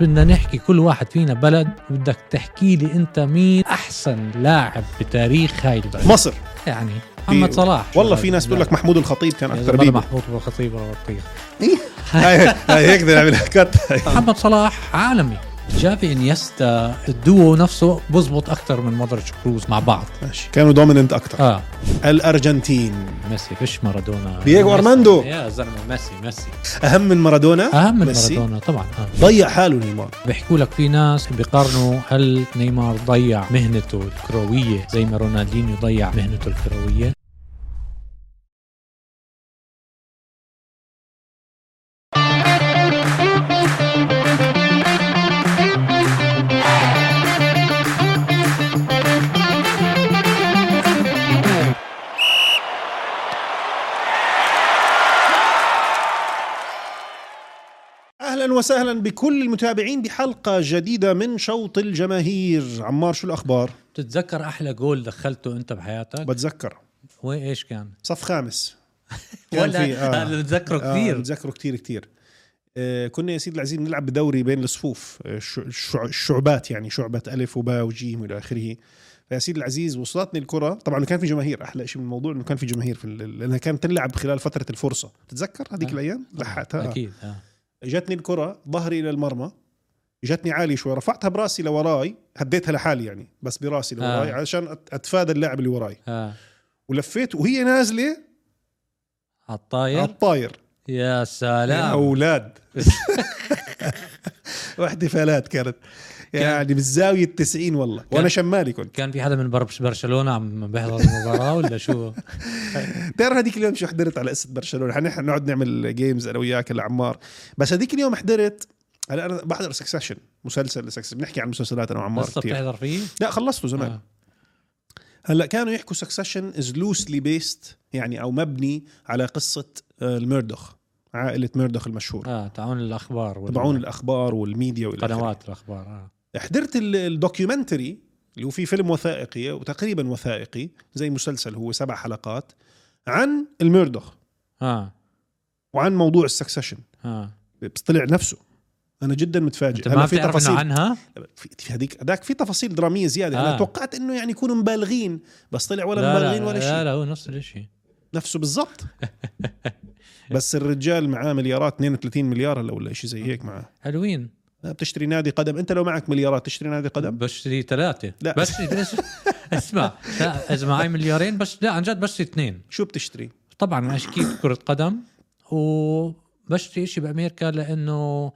بدنا نحكي كل واحد فينا بلد وبدك تحكي لي انت مين احسن لاعب بتاريخ هاي البلد مصر يعني محمد صلاح والله في ناس بتقول لك محمود الخطيب كان اكثر اكثر بيبي محمود بالخطيب والبطيخ هاي هاي أيوة. هيك بدنا نعملها كات محمد صلاح عالمي جافي انيستا الدوو نفسه بزبط اكثر من مودريتش كروز مع بعض ماشي كانوا دوميننت اكثر اه الارجنتين ميسي فيش مارادونا دييغو ميسي. أرماندو. يا زلمه ميسي ميسي اهم من مارادونا اهم من ميسي. مارادونا طبعا آه. ضيع حاله نيمار بيحكوا لك في ناس بيقارنوا هل نيمار ضيع مهنته الكروية زي ما رونالدينيو ضيع مهنته الكروية اهلا وسهلا بكل المتابعين بحلقه جديده من شوط الجماهير عمار شو الاخبار بتتذكر أحلى جول دخلته أنت بحياتك بتذكر وين إيش كان؟ صف خامس كان ولا في- آه. أنا بتذكره آه، كثير بتذكره كثير كثير آه، كنا يا سيدي العزيز بنلعب بدوري بين الصفوف آه، الش- الش- الشعبات يعني شعبة ألف وباء وجيم وإلى آخره فيا سيدي العزيز وصلتني الكرة طبعا كان في جماهير أحلى شيء من الموضوع إنه كان في جماهير في ال- لأنها كانت تلعب خلال فترة الفرصة تتذكر هذيك آه. الأيام لحقتها آه. أكيد آه. جاتني الكرة ظهري إلى المرمى جاتني عالي شوي رفعتها براسي لوراي هديتها لحالي يعني بس براسي لوراي آه. عشان أت- أتفادى اللاعب اللي وراي آه. ولفيت وهي نازلة على الطاير على الطاير يا يا سلام اولاد واحتفالات كانت يعني بالزاويه 90 والله وانا كان- شمالي كنت كان في حدا من برش- برشلونة عم بيحضر المباراة ولا شو؟ بتعرف هذيك اليوم شو حضرت على قصه برشلونه حنحن نقعد نعمل جيمز انا وياك هلا عمار بس هذيك اليوم حضرت هلا انا بحضر سكسيشن مسلسل سكسيشن بنحكي عن مسلسلات انا وعمار لسه كثير بتحضر فيه؟ لا خلصته زمان آه. هلا كانوا يحكوا سكسيشن از لوسلي بيست يعني او مبني على قصه آه، الميردوخ عائله ميردوخ المشهور آه تعاون الأخبار وال- تبعون الاخبار والميديا والى آخره. قنوات الأخبار آه. حضرت ال- الدوكيومنتري اللي هو في فيلم وثائقي وتقريبا وثائقي زي مسلسل هو سبع حلقات عن الميردوخ آه وعن موضوع السكسيشن آه بس طلع نفسه انا جدا متفاجئ أنت ما بتعرف إنه عنها؟ في في هذيك هذاك في تفاصيل دراميه زياده آه. آه. انا توقعت انه يعني يكونوا مبالغين بس طلع ولا لا مبالغين لا ولا لا شيء لا هو نفس الشيء نفسه بالضبط بس الرجال معاه مليارات 32 مليار هلا ولا شيء زي هيك معاه حلوين بتشتري نادي قدم انت لو معك مليارات تشتري نادي قدم بشتري ثلاثة لا. بشتري بس اسمع لا اذا معي مليارين بس لا عن جد بشتري اثنين شو بتشتري طبعا اشكيت كرة قدم وبشتري شيء بامريكا لانه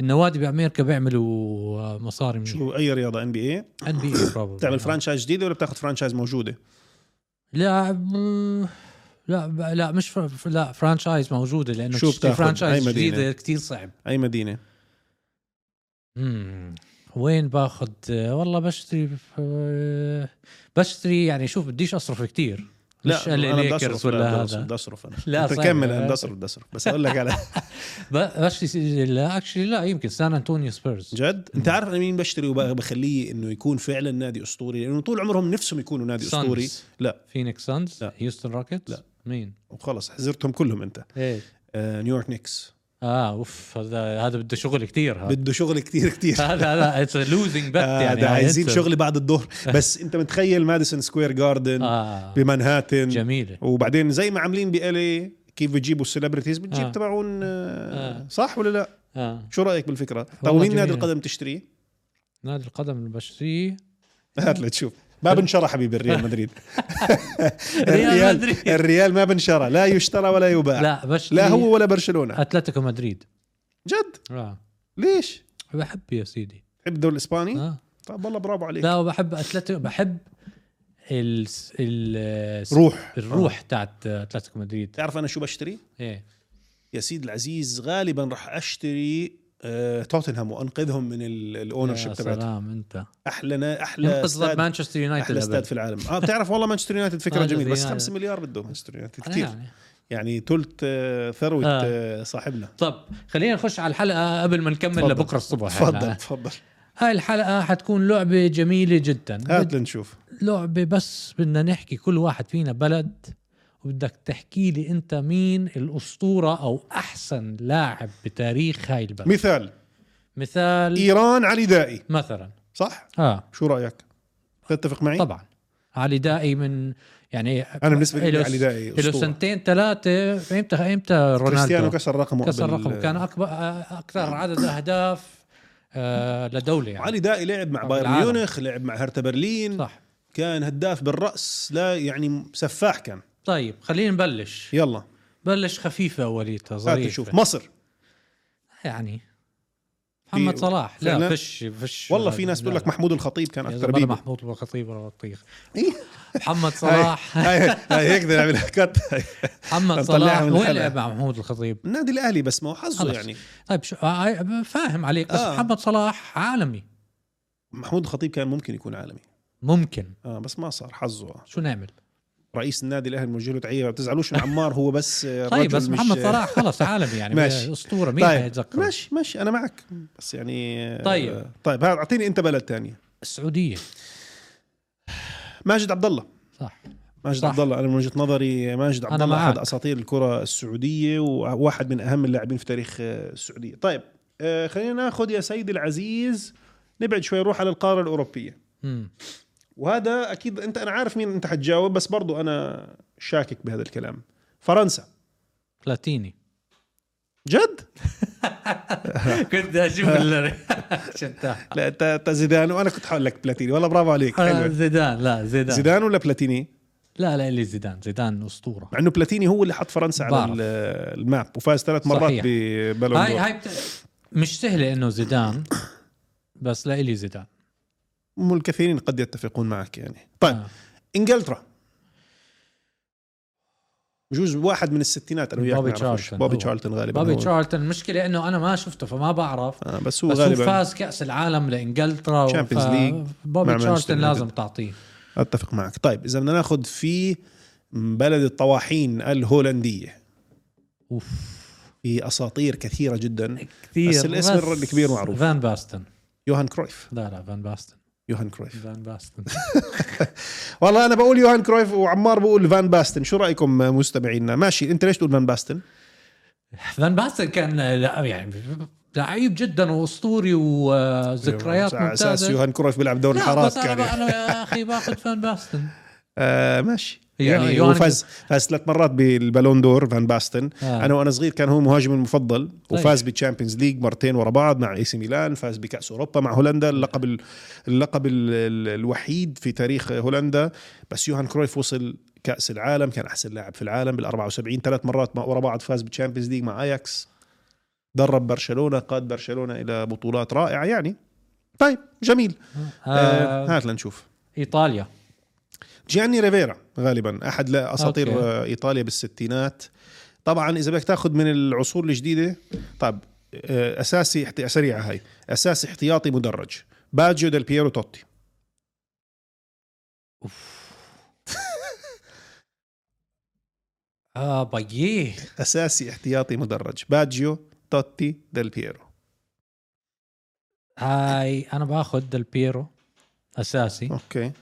النوادي بامريكا بيعملوا مصاري من شو اي رياضه ان بي اي ان بي اي بتعمل فرانشايز جديده ولا بتاخذ فرانشايز موجوده لا م- لا ب- لا مش فر... لا فرانشايز موجوده لانه شو تشتري بتاخد؟ فرانشايز أي مدينة؟ جديده كثير صعب اي مدينه مم. وين باخذ والله بشتري ب- بشتري يعني شوف بديش اصرف كثير مش أنا بدي ال ليكرز أصرف، لا، ولا بدي أصرف، هذا بدي اصرف انا لا، لا انت صعب. كمل انا بدي اصرف بدي اصرف بس اقول لك على ب- بشتري لا اكشلي لا يمكن سان انطونيو سبيرز جد انت عارف انا مين بشتري وبخليه انه يكون فعلا نادي اسطوري لانه طول عمرهم نفسهم يكونوا نادي Suns. اسطوري لا فينيكس سانز لا. هيوستن روكيتس لا. مين وخلص حزرتهم كلهم انت ايه آه نيويورك نيكس اه اوف هذا هذا بده شغل كثير هذا بده شغل كتير كتير هذا هذا اتس لوزنج بت آه يعني ده عايزين it's a- شغل بعد الظهر بس انت متخيل ماديسون سكوير جاردن اه بمنهاتن جميله وبعدين زي ما عاملين بالي كيف بتجيبوا السليبرتيز آه. بتجيب تبعون آه. آه. صح ولا لا؟ اه شو رايك بالفكره؟ طب والله مين نادي جميلة. القدم تشتريه؟ نادي القدم اللي بشتريه هات لتشوف ما بنشرى حبيبي الريال مدريد ريال مدريد الريال ما بنشرى لا يشترى ولا يباع لا, لا بشتري لا هو ولا برشلونه اتلتيكو مدريد جد اه ليش؟ بحب يا سيدي تحب الدوري الاسباني؟ آه. طب والله برافو عليك لا وبحب اتلتيكو بحب ال... ال... روح آه. الروح تاعت اتلتيكو مدريد تعرف انا شو بشتري؟ ايه يا سيد العزيز غالبا راح اشتري آه، توتنهام وانقذهم من الاونر شيب يا تبعته سلام انت احلى نا- احلى ينقذ استاد مانشستر يونايتد احلى استاد في العالم اه بتعرف والله مانشستر يونايتد فكره آه، جميله بس جميل. 5 مليار بده مانشستر يونايتد كثير كثير يعني ثلث آه، ثروه آه. آه، صاحبنا طب خلينا نخش على الحلقه قبل ما نكمل تفضل. لبكره الصبح تفضل إحنا. تفضل هاي الحلقه حتكون لعبه جميله جدا هات لنشوف لعبه بس بدنا نحكي كل واحد فينا بلد وبدك تحكي لي انت مين الاسطوره او احسن لاعب بتاريخ هاي البلد مثال مثال ايران علي دائي مثلا صح اه شو رايك تتفق معي طبعا علي دائي من يعني انا بالنسبه لي إله- علي دائي له اسطوره سنتين ثلاثه امتى امتى كريستيانو رونالدو كسر رقمه كسر قبل- رقم كان اكبر اكثر عدد اهداف آه، لدوله يعني علي دائي لعب مع طب بايرن العالم. ميونخ لعب مع هرتا برلين صح. صح كان هداف بالراس لا يعني سفاح كان طيب خلينا نبلش يلا بلش خفيفه اوليتها هات ظريفه نشوف مصر يعني محمد في- صلاح فعلاً؟ لا فش فش والله في ناس بتقول لك محمود الخطيب كان اكثر اكثر بيبي محمود بالخطيب ولا بطيخ إيه. محمد هاي صلاح هاي هاي هيك بدنا نعملها كت هاي. محمد نطلعها صلاح من وين الحلقة. لعب مع محمود الخطيب النادي الاهلي بس ما هو حظه خلص. يعني طيب شو آه، فاهم عليك بس آه. محمد صلاح عالمي محمود الخطيب كان ممكن يكون عالمي ممكن اه بس ما صار حظه شو نعمل رئيس النادي الاهلي بنوجه له تحيه ما بتزعلوش من عمار هو بس آه، طيب رجل بس مش- محمد صلاح خلص عالمي يعني ماشي. اسطوره مين طيب حيتذكر ماشي ماشي انا معك بس يعني آه، طيب. طيب هات اعطيني انت بلد ثانيه السعوديه ماجد عبد الله صح ماجد صح. عبد الله انا من وجهه نظري ماجد عبد أنا الله احد معك. اساطير الكره السعوديه وواحد من اهم اللاعبين في تاريخ آه، السعوديه طيب آه، خلينا ناخذ يا سيدي العزيز نبعد شوي نروح على القاره الاوروبيه امم وهذا اكيد انت انا عارف مين انت حتجاوب بس برضو انا شاكك بهذا الكلام فرنسا بلاتيني جد كنت اشوف شفتها لا انت أنت زيدان وانا كنت حقول لك بلاتيني والله برافو عليك حلو آه، زيدان لا زيدان, زيدان ولا بلاتيني لا لا اللي زيدان زيدان اسطوره مع انه بلاتيني هو اللي حط فرنسا على بعرف. ال- الماب وفاز ثلاث مرات صحيح. ببالون هاي دور. هاي بت... مش سهله انه زيدان بس لا الي زيدان هم الكثيرين قد يتفقون معك يعني طيب آه. انجلترا بجوز واحد من الستينات انا وياك بوبي ما نعرفوش. تشارلتون بوبي هو. تشارلتون غالبا بابي هو. تشارلتون المشكله انه انا ما شفته فما بعرف آه بس هو بس هو غالبا فاز كاس العالم لانجلترا Champions وف- League مع بوبي مانشستر تشارلتون يونايتد. لازم تعطيه اتفق معك طيب اذا بدنا ناخذ في بلد الطواحين الهولنديه اوف في اساطير كثيره جدا كثير بس الاسم الكبير معروف. فان باستن يوهان كرويف لا لا فان باستن يوهان كرويف فان باستن والله انا بقول يوهان كرويف وعمار بقول فان باستن شو رايكم مستمعينا ماشي انت ليش تقول فان باستن فان باستن كان لا يعني لعيب جدا واسطوري وذكريات أيوة، على اساس ممتازه يوهان كرويف بيلعب دوري لا الحارات بس انا كان انا يا اخي باخذ فان باستن آه ماشي يو- يعني هو يوهان- فاز فاز ثلاث مرات بالبالون دور فان باستن آه. انا وانا صغير كان هو مهاجمي المفضل وفاز بالتشامبيونز ليج مرتين ورا بعض مع اي سي ميلان فاز بكاس اوروبا مع هولندا اللقب ال- اللقب ال- ال- الوحيد في تاريخ هولندا بس يوهان كرويف وصل كاس العالم كان احسن لاعب في العالم بال 74 ثلاث مرات مع- ورا بعض فاز بالتشامبيونز ليج مع اياكس درب برشلونه قاد برشلونه الى بطولات رائعه يعني طيب جميل آه آه هات لنشوف ايطاليا جياني ريفيرا غالبا احد لا- اساطير أوكي. أوكي. ايطاليا بالستينات طبعا اذا بدك تاخذ من العصور الجديده طب آه، اساسي احت- سريعه هاي اساسي احتياطي مدرج باجيو ديل بييرو توتي اه بييه اساسي احتياطي مدرج باجيو توتي ديل بييرو هاي انا باخذ ديل بيرو اساسي اوكي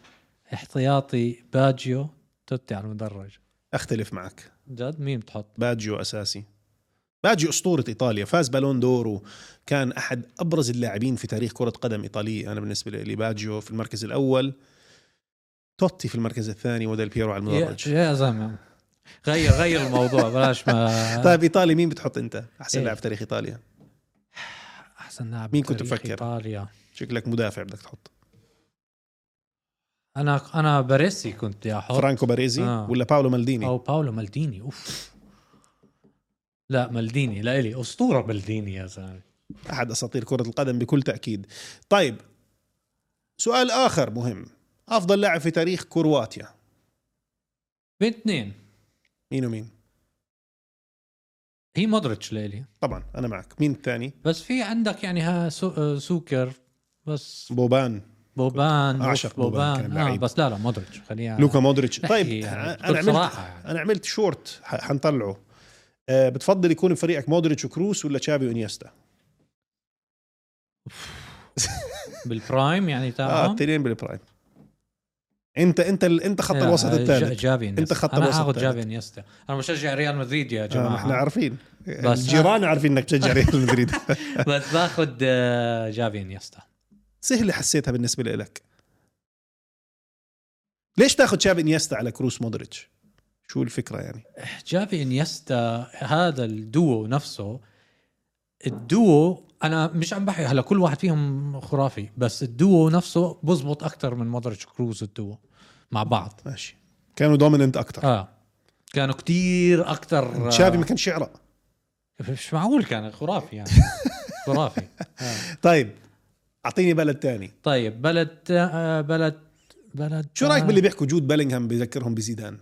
احتياطي باجيو توتي على المدرج اختلف معك جد مين بتحط؟ باجيو اساسي باجيو اسطوره ايطاليا فاز بالون دور وكان احد ابرز اللاعبين في تاريخ كره قدم ايطاليه انا بالنسبه لي باجيو في المركز الاول توتي في المركز الثاني وديل بييرو على يا, المدرج يا زلمه غير غير الموضوع بلاش ما طيب ايطالي مين بتحط انت احسن إيه. لاعب في تاريخ ايطاليا احسن لاعب مين كنت بتاريخ تفكر؟ ايطاليا شكلك مدافع بدك تحط انا انا باريسي كنت بدي احط فرانكو باريزي آه. ولا باولو مالديني او باولو مالديني اوف لا مالديني لا الي اسطوره مالديني يا زلمه احد اساطير كره القدم بكل تاكيد طيب سؤال اخر مهم افضل لاعب في تاريخ كرواتيا بين اثنين مين ومين هي مودريتش لالي طبعا انا معك مين الثاني بس في عندك يعني ها سو... آه، سوكر بس بوبان بوبان أعشق أوف، بوبان، كان بوبان آه لعيب. بس لا لا مودريتش خليها لوكا مودريتش نحكي طيب يعني انا عملت بصراحة يعني. انا عملت شورت ح- حنطلعه آه، بتفضل يكون بفريقك مودريتش وكروس ولا تشافي وانيستا؟ بالبرايم يعني اه تمام التنين بالبرايم انت انت ال- انت خط آه، الوسط الثالث جافي إنيستا. أنت خط انا الوسط اخذ الثالث. جافي انيستا انا مشجع ريال مدريد يا آه، جماعه احنا عارفين بس- الجيران عارفين انك تشجع ريال مدريد بس باخذ آه، جافي انيستا سهله حسيتها بالنسبه لك ليش تاخذ شاب انيستا على كروس مودريتش شو الفكره يعني جافي انيستا هذا الدوو نفسه الدوو انا مش عم بحكي هلا كل واحد فيهم خرافي بس الدوو نفسه بزبط اكثر من مودريتش كروز الدوو مع بعض ماشي كانوا دوميننت اكثر اه كانوا كتير آه، اكثر تشافي ما كانش يعرق مش معقول كان خرافي يعني خرافي آه. طيب اعطيني بلد تاني طيب بلد آه بلد بلد شو رايك باللي بيحكوا جود بلينغهام بيذكرهم بزيدان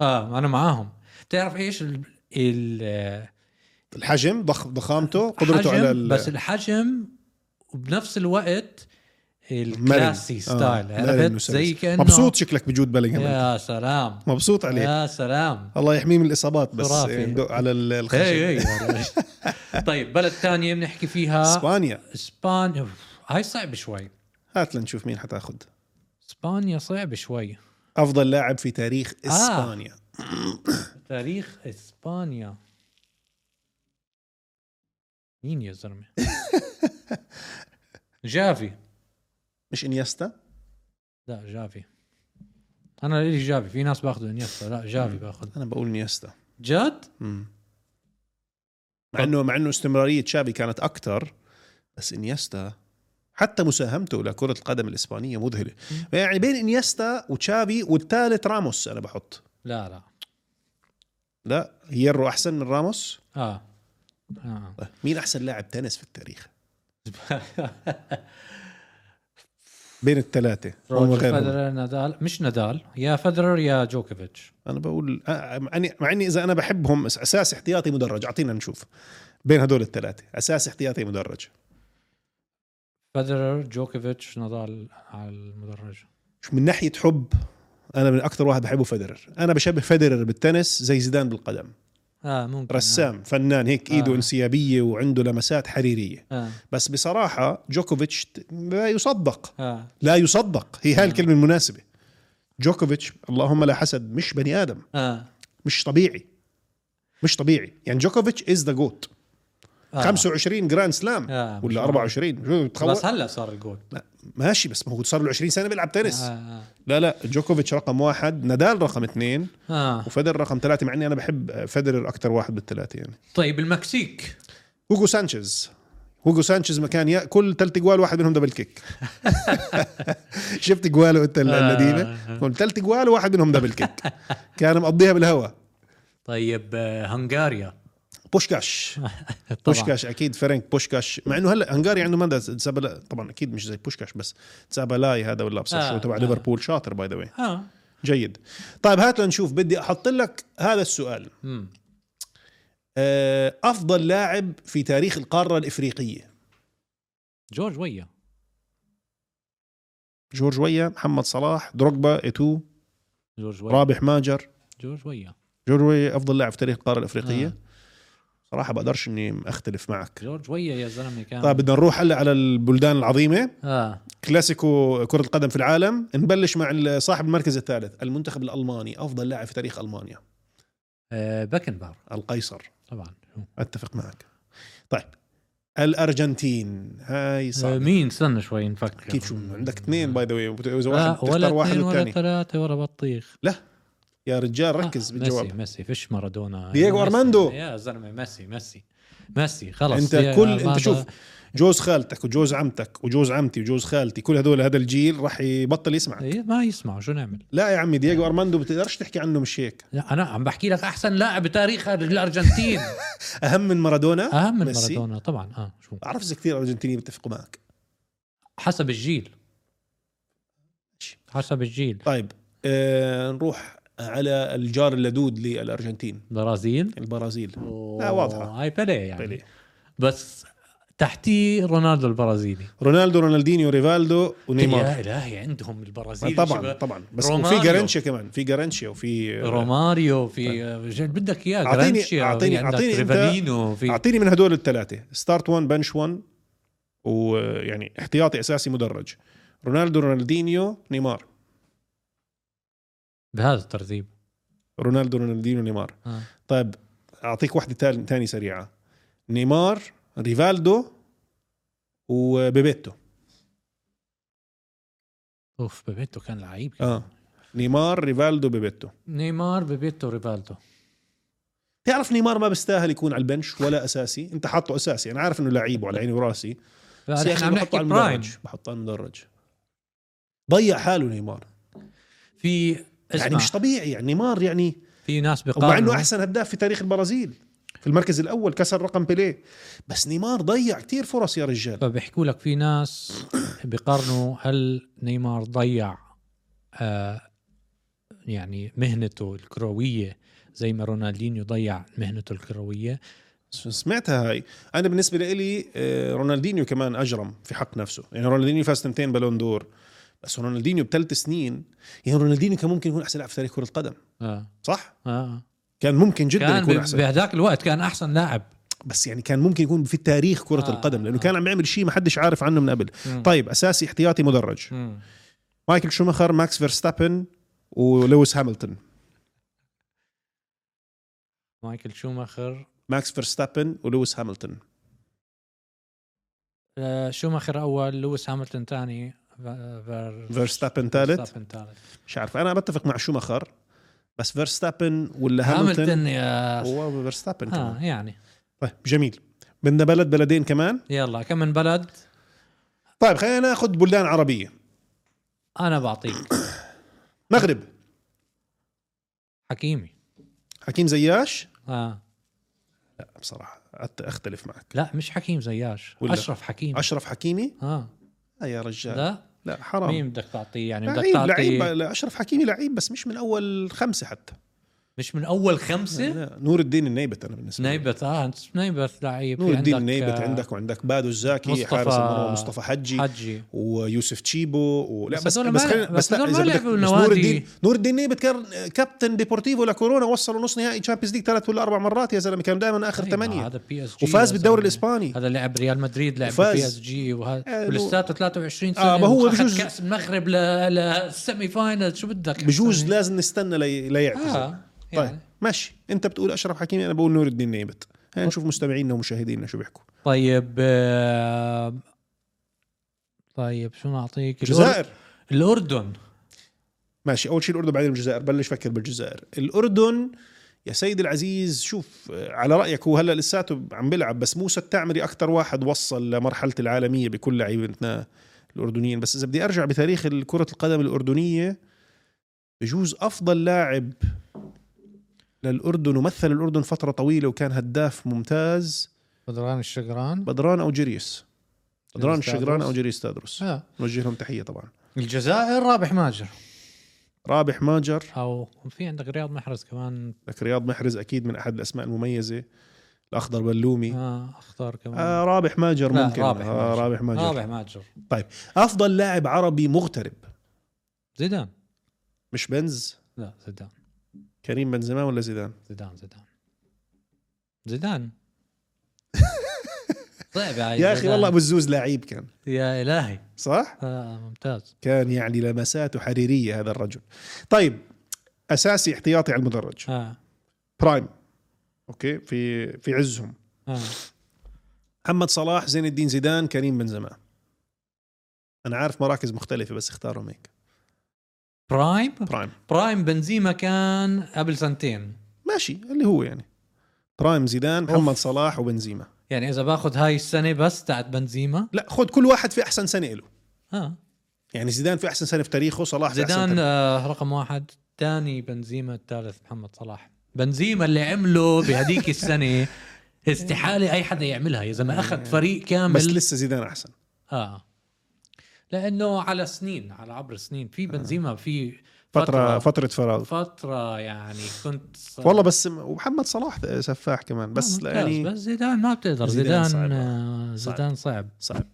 اه انا معاهم بتعرف ايش ال... ال... الحجم ضخ ضخامته قدرته الحجم، على ال... بس الحجم وبنفس الوقت آه، الكلاسي ستايل مرن عرفت آه، وسلس. زي كانه مبسوط شكلك بجود بلينغهام يا سلام مبسوط عليه يا سلام إيه، الله يحميه من الاصابات بس خرافي. ندق على ال- الخشب اي اي طيب بلد ثانيه بنحكي فيها اسبانيا اسبانيا أوف، هاي صعبه شوي هات لنشوف مين حتاخذ اسبانيا صعبه شوي افضل لاعب في تاريخ آه. اسبانيا تاريخ اسبانيا مين يا زلمه جافي مش انيستا لا جافي انا لي جافي في ناس باخذوا انيستا لا جافي باخذ انا بقول انيستا جد مم. مع انه مع انه استمراريه تشافي كانت اكثر بس انيستا حتى مساهمته لكرة القدم الإسبانية مذهلة يعني بين إنيستا وتشافي والثالث راموس أنا بحط لا لا لا هيرو أحسن من راموس اه اه طيب، مين أحسن لاعب تنس في التاريخ بين الثلاثة هم روجر وغيرهم. فederer، نادال مش نادال يا فدرر يا جوكوفيتش انا بقول آه، مع اني مع اني اذا انا بحبهم أس- اساس احتياطي مدرج اعطينا نشوف بين هدول الثلاثه اساس احتياطي مدرج فدرر جوكوفيتش نادال على المدرج شو من ناحيه حب انا من اكثر واحد بحبه فederer انا بشبه فederer بالتنس زي زيدان بالقدم اه ممكن رسام فنان هيك ايده آه. آه. انسيابيه وعنده لمسات حريريه اه بس بصراحه جوكوفيتش ت- لا يصدق اه لا يصدق هي هاي آه. الكلمه المناسبه جوكوفيتش اللهم لا حسد مش بني ادم اه, مش طبيعي مش طبيعي يعني جوكوفيتش از ذا جوت آه. 25 جراند سلام آه، مش ولا معقول. 24 شو بتخوف؟ بس هلا صار الجول لا، ماشي بس ما هو صار له 20 سنه بيلعب تنس اه لا لا جوكوفيتش رقم واحد نادال رقم اثنين آه. آه. وفدر رقم ثلاثه مع اني انا بحب فدرر اكثر واحد بالثلاثه يعني طيب المكسيك هوجو سانشيز هوجو سانشيز مكان يا كل ثلاث جوال واحد منهم دبل كيك شفت جواله انت ال- آه. اللذيذه ثلاث جوال واحد منهم دبل كيك كان مقضيها بالهوا طيب آه، هنغاريا بوشكاش طبعاً. بوشكاش اكيد فرانك بوشكاش مع انه هلا هنغاريا عنده مدى تسابلا طبعا اكيد مش زي بوشكاش بس تسابلاي هذا ولا ابصر آه، شو تبع آه. ليفربول شاطر باي ذا واي اه جيد طيب هات لنشوف بدي احط لك هذا السؤال مم. آه، افضل لاعب في تاريخ القاره الافريقيه جورج ويا جورج ويا محمد صلاح دروجبا ايتو جورج ويا رابح ماجر جورج ويا جورج ويا افضل لاعب في تاريخ القاره آه. الافريقيه صراحه بقدرش اني اختلف معك جورج ويا يا زلمه كان طيب بدنا نروح هلا على البلدان العظيمه اه كلاسيكو كرة القدم في العالم نبلش مع ال- صاحب المركز الثالث المنتخب الألماني أفضل لاعب في تاريخ ألمانيا آه، بكنبار القيصر طبعا أتفق معك طيب الأرجنتين هاي آه، صعب مين استنى شوي نفكر كيف شو عندك اثنين باي ذا واي إذا واحد لا ولا تختار واحد اثنين ولا والثاني ثلاثة ولا بطيخ يا رجال ركز آه، بالجواب ميسي ميسي فيش مارادونا دييغو ميسي. أرماندو. يا زلمة ميسي ميسي ميسي خلص انت دييغو كل أرماندو. انت شوف جوز خالتك وجوز عمتك وجوز عمتي وجوز خالتي كل هدول هذا الجيل راح يبطل يسمعك إيه، ما يسمعوا شو نعمل لا يا عمي دييغو ارماندو بتقدرش تحكي عنه مش هيك لا انا عم بحكي لك احسن لاعب بتاريخ الارجنتين اهم من مارادونا اهم من ميسي؟ مارادونا طبعا اه شو بعرف اذا كثير ارجنتينيين بيتفقوا معك حسب الجيل حسب الجيل طيب آه نروح على الجار اللدود للارجنتين برازيل البرازيل لا واضحة. هاي بيليه يعني بيليه. بس تحتي رونالدو البرازيلي رونالدو رونالدينيو ريفالدو يا ونيمار الهي عندهم ما البرازيل طبعا شبه طبعا بس روماريو. وفي جارنشيا كمان في جارنشيا وفي آه، روماريو في آه، شو بدك اياه أعطيني- جرانشيا أعطيني- في عندك أعطيني أنت- ريفالينو في اعطيني من هدول الثلاثه ستارت 1 بنش 1 ويعني احتياطي اساسي مدرج رونالدو رونالدينيو نيمار بهذا الترتيب رونالدو رونالدينيو نيمار آه. طيب اعطيك واحده تال- تاني سريعه نيمار ريفالدو وبيبيتو اوف بيبيتو كان لعيب اه نيمار ريفالدو بيبيتو نيمار بيبيتو ريفالدو تعرف نيمار ما بيستاهل يكون على البنش ولا اساسي انت حاطه اساسي انا عارف انه لعيب وعلى عيني وراسي بس يا فنحن اخي عم بحطه نحكي على برايم المدرج بحطه على المدرج ضيع حاله نيمار في اسمع يعني مش طبيعي يعني نيمار يعني في ناس بيقارنوا مع انه احسن هداف في تاريخ البرازيل في المركز الاول كسر رقم بيليه بس نيمار ضيع كتير فرص يا رجال فبيحكوا لك في ناس بيقارنوا هل نيمار ضيع آه يعني مهنته الكرويه زي ما رونالدينيو ضيع مهنته الكرويه سمعتها هاي انا بالنسبه لي آه، رونالدينيو كمان اجرم في حق نفسه يعني رونالدينيو فاز تنتين بالون دور بس رونالدينيو بثلاث سنين يعني رونالدينيو كان ممكن يكون احسن لاعب في تاريخ كره القدم آه. صح آه. كان ممكن جدا كان يكون ب- احسن بهداك الوقت كان احسن لاعب بس يعني كان ممكن يكون في تاريخ كره آه، القدم لانه آه. كان عم يعمل شيء ما حدش عارف عنه من قبل مم. طيب اساسي احتياطي مدرج مم. مايكل شوماخر ماكس فيرستابن ولويس هامilton مايكل شوماخر ماكس فيرستابن ولويس هامilton آه شوماخر اول لويس هامilton ثاني فيرستابن ثالث ثالث مش عارف انا بتفق مع شوماخر بس فيرستابن ولا هاملتون هاملتون يا هو فيرستابن اه كمان يعني طيب جميل بدنا بلد بلدين كمان يلا كم من بلد طيب خلينا ناخذ بلدان عربيه انا بعطيك مغرب حكيمي حكيم زياش اه لا بصراحه أت- اختلف معك لا مش حكيم زياش ولا. اشرف حكيم اشرف حكيمي اه لا يا رجال لا لا حرام مين بدك تعطيه يعني بدك لعيب لعيب تعطيه لا، اشرف حكيمي لعيب بس مش من اول خمسه حتى مش من اول خمسه لا، نور الدين النيبت انا بالنسبه لي إيه؟ نيبت اه أنت نيبت لعيب نور في الدين عندك، النيبت آه، عندك وعندك بادو الزاكي مصطفى- حارس المرمى مصطفى حجي حجي ويوسف تشيبو و... لا بس بس بس, هدول بس, ما- خلينا- بس بس, لا هدول إذا ما بدك- لعبوا بس نوادي- نور الدين نور الدين نيبت كان كابتن ديبورتيفو لكورونا وصلوا نص نهائي تشامبيونز ليج ثلاث ولا اربع مرات يا زلمه كان دائما اخر أيوة، ثمانيه هذا بي اس جي وفاز بالدوري الاسباني هذا لعب ريال مدريد لعب وفاز. بي اس جي آه، وهذا نو- ولساته 23 سنه آه، ما هو وأخذ بجوز- كاس المغرب ل- للسيمي فاينل شو بدك بجوز أحسن. لازم نستنى لي... ليعتزل اه طيب يعني. ماشي انت بتقول اشرف حكيمي انا بقول نور الدين نيبت خلينا نشوف مستمعينا ومشاهدينا شو بيحكوا طيب آه، طيب شو نعطيك الجزائر الاردن ماشي اول شيء الاردن بعدين الجزائر بلش فكر بالجزائر الاردن يا سيدي العزيز شوف آه، على رايك هو هلا لساته عم بيلعب بس موسى التعمري اكثر واحد وصل لمرحله العالميه بكل لعيبتنا الاردنيين بس اذا بدي ارجع بتاريخ كره القدم الاردنيه بجوز افضل لاعب للاردن ومثل الاردن فتره طويله وكان هداف ممتاز بدران الشقران بدران او جريس بدران جريس الشقران تادرس. او جريس تادرس آه. نوجه لهم تحيه طبعا الجزائر رابح ماجر رابح ماجر او في عندك رياض محرز كمان لك رياض محرز اكيد من احد الاسماء المميزه الاخضر بلومي آه اختار كمان آه رابح ماجر لا، ممكن رابح آه ماجر. رابح ماجر رابح ماجر افضل لاعب عربي مغترب زيدان مش بنز لا زيدان كريم بنزيما ولا زيدان زيدان زيدان زيدان طيب يا, يا اخي زيدان. والله ابو الزوز لعيب كان يا الهي صح آه ممتاز كان يعني لمساته حريريه هذا الرجل طيب اساسي احتياطي على المدرج آه. برايم اوكي في في عزهم آه. محمد صلاح زين الدين زيدان كريم بنزيما انا عارف مراكز مختلفه بس اختارهم هيك برايم برايم برايم بنزيما كان قبل سنتين ماشي اللي هو يعني برايم زيدان محمد صلاح وبنزيما يعني اذا باخذ هاي السنه بس تاعت بنزيما لا خد كل واحد في احسن سنه له اه يعني زيدان في احسن سنه في تاريخه صلاح في أحسن زيدان تاريخه. آه رقم واحد ثاني بنزيما الثالث محمد صلاح بنزيما اللي عمله بهديك السنه استحاله اي حدا يعملها يا زلمه اخذ فريق إيه. بس كامل لسه زيدان احسن اه لانه على سنين على عبر سنين آه. في بنزيما في فتره فتره فتره فراغ فترة يعني كنت ص- آه، والله بس ومحمد صلاح سفاح كمان بس ممتاز، يعني بس زيدان ما بتقدر زيدان زيدان صعب. آه، صعب. زيدان صعب صعب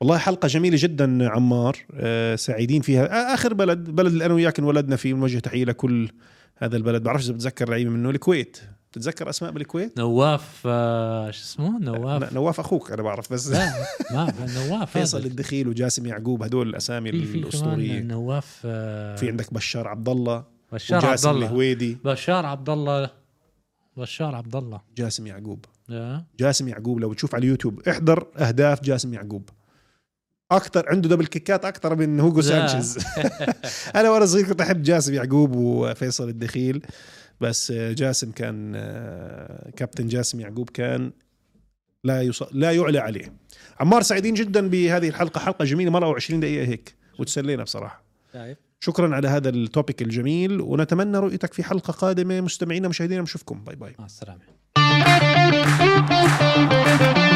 والله حلقة جميلة جدا عمار آه، سعيدين فيها آه، آخر بلد بلد اللي أنا وياك انولدنا فيه بنوجه تحية لكل هذا البلد بعرفش إذا بتذكر لعيبة منه الكويت بتتذكر أسماء بالكويت؟ نواف آه، شو اسمه نواف ن- نواف أخوك أنا بعرف بس لا ما نواف هذا. فيصل الدخيل وجاسم يعقوب هدول الأسامي في في الأسطورية كمان نواف آه، في عندك بشار عبد الله بشار عبد وجاسم الله الهويدي بشار عبد الله بشار عبد الله جاسم يعقوب آه. جاسم يعقوب لو تشوف على اليوتيوب احضر اهداف جاسم يعقوب اكثر عنده دبل كيكات اكثر من هوجو لا. سانشيز انا وانا صغير كنت احب جاسم يعقوب وفيصل الدخيل بس جاسم كان آه، كابتن جاسم يعقوب كان لا يص... لا يعلى عليه عمار سعيدين جدا بهذه الحلقه حلقه جميله مره و20 دقيقه هيك وتسلينا بصراحه شايف شكرا على هذا التوبيك الجميل ونتمنى رؤيتك في حلقه قادمه مستمعينا مشاهدينا نشوفكم باي باي مع السلامه